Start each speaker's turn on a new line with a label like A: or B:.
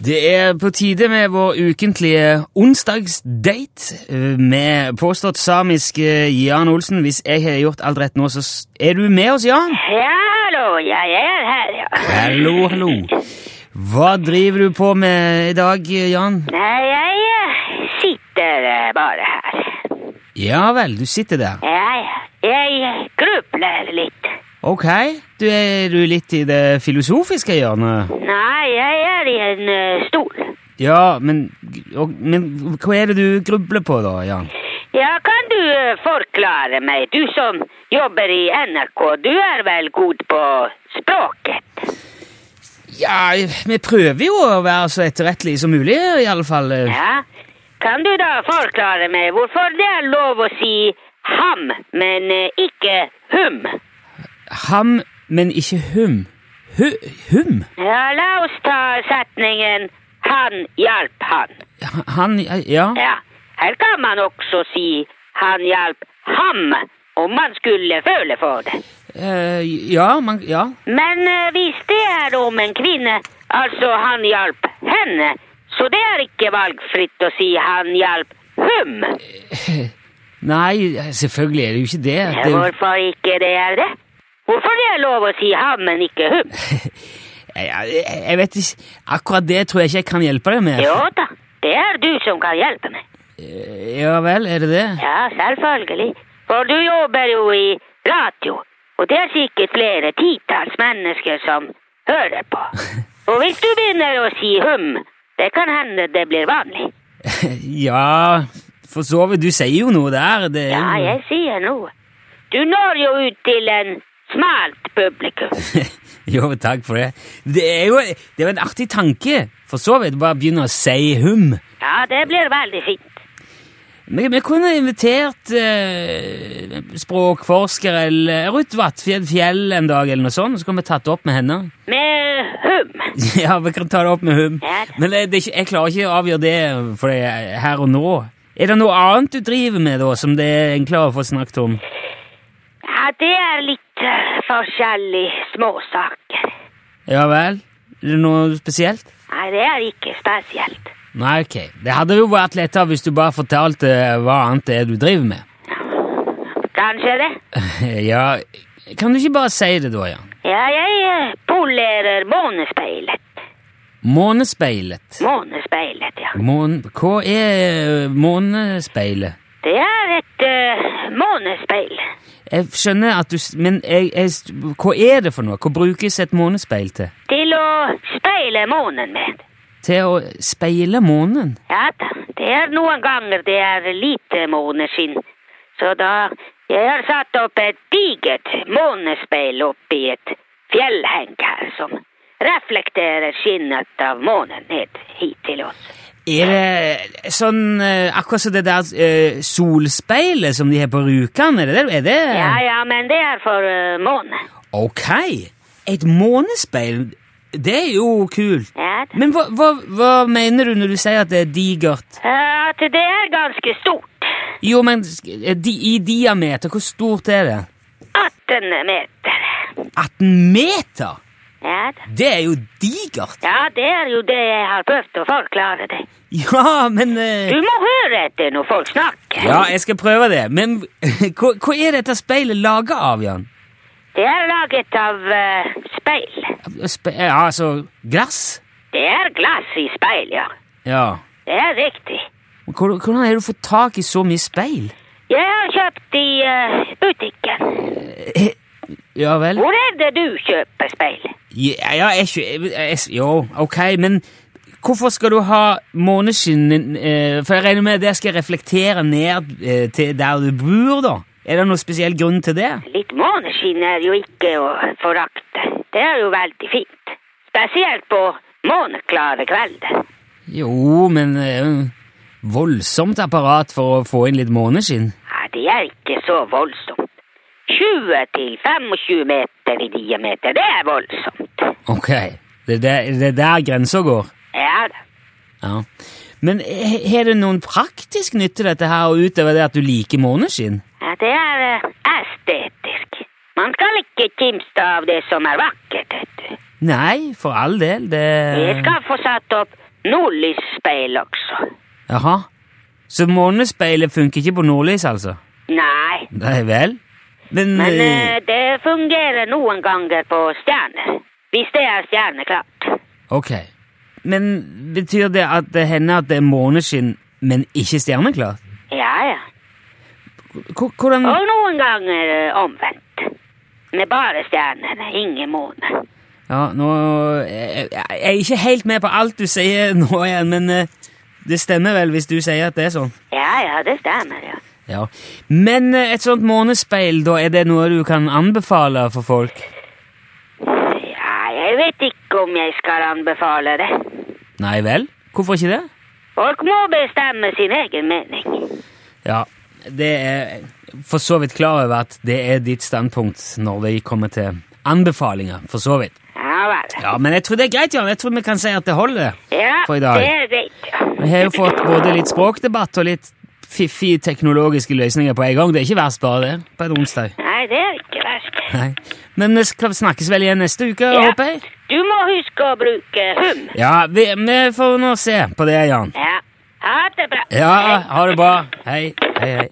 A: Det er på tide med vår ukentlige onsdagsdate eh, med påstått samisk eh, Jan Olsen. Hvis jeg har gjort alt rett nå, så s- er du med oss, Jan?
B: Ja, hallo, jeg er her, ja.
A: Hallo, hallo. Hva driver du på med i dag, eh, Jan?
B: Nei, jeg eh, sitter eh, bare her.
A: Ja vel, du sitter der.
B: Jeg, jeg grubler litt.
A: Ok, du er du litt i det filosofiske hjørnet.
B: Nei, jeg er i en eh, stol.
A: Ja, men, og, men hva er det du grubler på da, Jan?
B: Ja, kan du eh, forklare meg, du som jobber i NRK, du er vel god på språket?
A: Ja, vi prøver jo å være så etterrettelige som mulig, i alle fall. eh.
B: Ja, kan du da forklare meg hvorfor det er lov å si ham, men eh, ikke hum?
A: Ham, men ikke hum. Hu, hum?
B: Ja, la oss ta setningen 'han hjalp han'.
A: Ha- Han, ja.
B: Ja, her kan man også si 'han hjalp ham' om man skulle føle for det.
A: Eh, ja, man, ja.
B: Men eh, hvis det er om en kvinne, altså 'han hjalp henne', så det er ikke valgfritt å si 'han hjalp hum'.
A: Nei, selvfølgelig er det jo ikke det.
B: Ja,
A: det er jo-
B: Hvorfor ikke det er det? Hvorfor det er lov å si 'ham', men ikke 'hum'?
A: jeg, jeg- jeg vet ikke, akkurat det tror jeg ikke jeg kan hjelpe deg med.
B: Jo da, det er du som kan hjelpe meg.
A: Eh, Ja vel, er det det?
B: Ja, selvfølgelig. For du jobber jo i radio, og det er sikkert flere titalls mennesker som hører på. Og hvis du begynner å si hum, det kan hende det blir vanlig.
A: Ja, for så vidt, du sier jo noe der. Det er
B: Ja,
A: jo-
B: jeg sier noe. Du når jo ut til en smalt publikum.
A: jo, takk for det. Det er jo det er jo en artig tanke, for så vidt, bare begynne å si hum.
B: Ja, det blir veldig fint.
A: Vi, vi kunne invitert eh, språkforsker eller Ruth Vatfjell Fjell en dag, eller noe sånt, og så kunne vi tatt det opp med henne.
B: Med hum.
A: ja, vi kan ta det opp med hun.
B: Ja.
A: Men eh, det, er ikke- jeg klarer ikke å avgjøre det for det er her og nå. Er det noe annet du driver med, da, som det er enklere å få snakket om?
B: Ja, det er litt eh, forskjellige småsaker.
A: Ja vel? Er det noe spesielt?
B: Nei, det er ikke spesielt.
A: Nei, ok. Det hadde jo vært lettere hvis du bare fortalte hva annet det er du driver med.
B: Kanskje det?
A: ja, kan du ikke bare si det, da, Jan?
B: Ja, jeg eh, polerer månespeilet.
A: Månespeilet.
B: Månespeilet, ja.
A: Mån... Hva er eh, månespeilet?
B: Det er et eh, månespeil.
A: Jeg skjønner at du s- Men jeg, jeg, s- hva er det for noe? Hva brukes et månespeil til?
B: Til å speile månen med.
A: Til å speile månen?
B: Ja da, det er noen ganger det er lite måneskinn. Så da Jeg har satt opp et digert månespeil oppi et fjellheng her som reflekterer skinnet av månen ned hit til oss.
A: Er det sånn eh, Akkurat som det der eh, solspeilet som de har på Rjukan? Er det det? Er det
B: Ja ja, men det er for eh, månen.
A: Ok! Et månespeil, det er jo kult.
B: Ja da.
A: Men hva, hva, hva mener du når du sier at det er digert?
B: Eh, At det er ganske stort.
A: Jo, men sk- eh, di, i diameter, hvor stort er det?
B: 18 meter.
A: 18 meter?
B: Ja, da.
A: Det er jo digert!
B: ja, det er jo det jeg har prøvd å forklare deg.
A: Ja, men eh,
B: Du må høre etter når folk snakker.
A: Ja, jeg skal prøve det, men hva, hva er dette speilet laget av, Jan?
B: Det er laget av eh, speil.
A: Spe ja, altså glass?
B: Det er glass i speil, ja.
A: Ja.
B: Det er riktig.
A: Men hvor- Hvordan har du fått tak i så mye speil?
B: Jeg har kjøpt i eh, butikken.
A: Ja vel?
B: Hvor er det du kjøper speil?
A: Ja, ja jeg, skjø- jeg, jeg, jo, ok, men hvorfor skal du ha måneskinn eh, For jeg regner med at det skal reflektere ned eh, til der du bor, da? Er det noen spesiell grunn til det?
B: Litt måneskinn er jo ikke å forakte. Det er jo veldig fint. Spesielt på måneklare kvelder.
A: Jo, men eh, Voldsomt apparat for å få inn litt måneskinn.
B: Ja, det er ikke så voldsomt. 20 til 25 meter i diameter, det er voldsomt.
A: Ok, det er der, det er der grensa går.
B: Ja da.
A: Ja. Men he- har det noen praktisk nytte, dette her, og utover det at du liker måneskinn?
B: Ja, det er eh, estetisk. Man skal ikke kimste av det som er vakkert, vet du.
A: Nei, for all del,
B: Jeg
A: det
B: skal få satt opp Nordlysspeil også.
A: Jaha. Så månespeilet funker ikke på nordlys, altså?
B: Nei,
A: Nei vel? Men,
B: men
A: eh,
B: eh, det fungerer noen ganger på stjerner. Hvis det er stjerneklart.
A: Ok. Men betyr det at det hender at det er måneskinn, men ikke stjerneklart?
B: Ja, ja.
A: Hvor- Hvordan
B: Og noen ganger eh, omvendt. Med bare stjerner, ingen måne.
A: Ja, nå jeg, jeg jeg er ikke helt med på alt du sier nå igjen, men eh, det stemmer vel hvis du sier at det er sånn?
B: Ja, ja, det stemmer, ja.
A: Ja. Men eh, et sånt månespeil, da, er det noe du kan anbefale for folk?
B: Ja, jeg vet ikke om jeg skal anbefale det.
A: Nei vel? Hvorfor ikke det?
B: Folk må bestemme sin egen mening.
A: Ja, det er for så vidt klar over at det er ditt standpunkt når det kommer til anbefalinger, for så vidt.
B: Ja vel.
A: Ja, men jeg tror det er greit, Jan. Jeg tror vi kan si at det holder.
B: Ja,
A: For i dag.
B: det er greit.
A: Vi har jo fått både litt språkdebatt og litt fiffige teknologiske løsninger på en gang. Det er ikke verst bare det, på en onsdag.
B: Nei, det er ikke verst.
A: Nei. Men vi skal snakkes vel igjen neste uke,
B: Ja.
A: håper jeg?
B: Du må huske å bruke hum.
A: Ja, vi, vi får nå se på det, Jan.
B: Ja. Ha det bra.
A: Ja,
B: Hei.
A: ha det bra. Hei, hei, hei.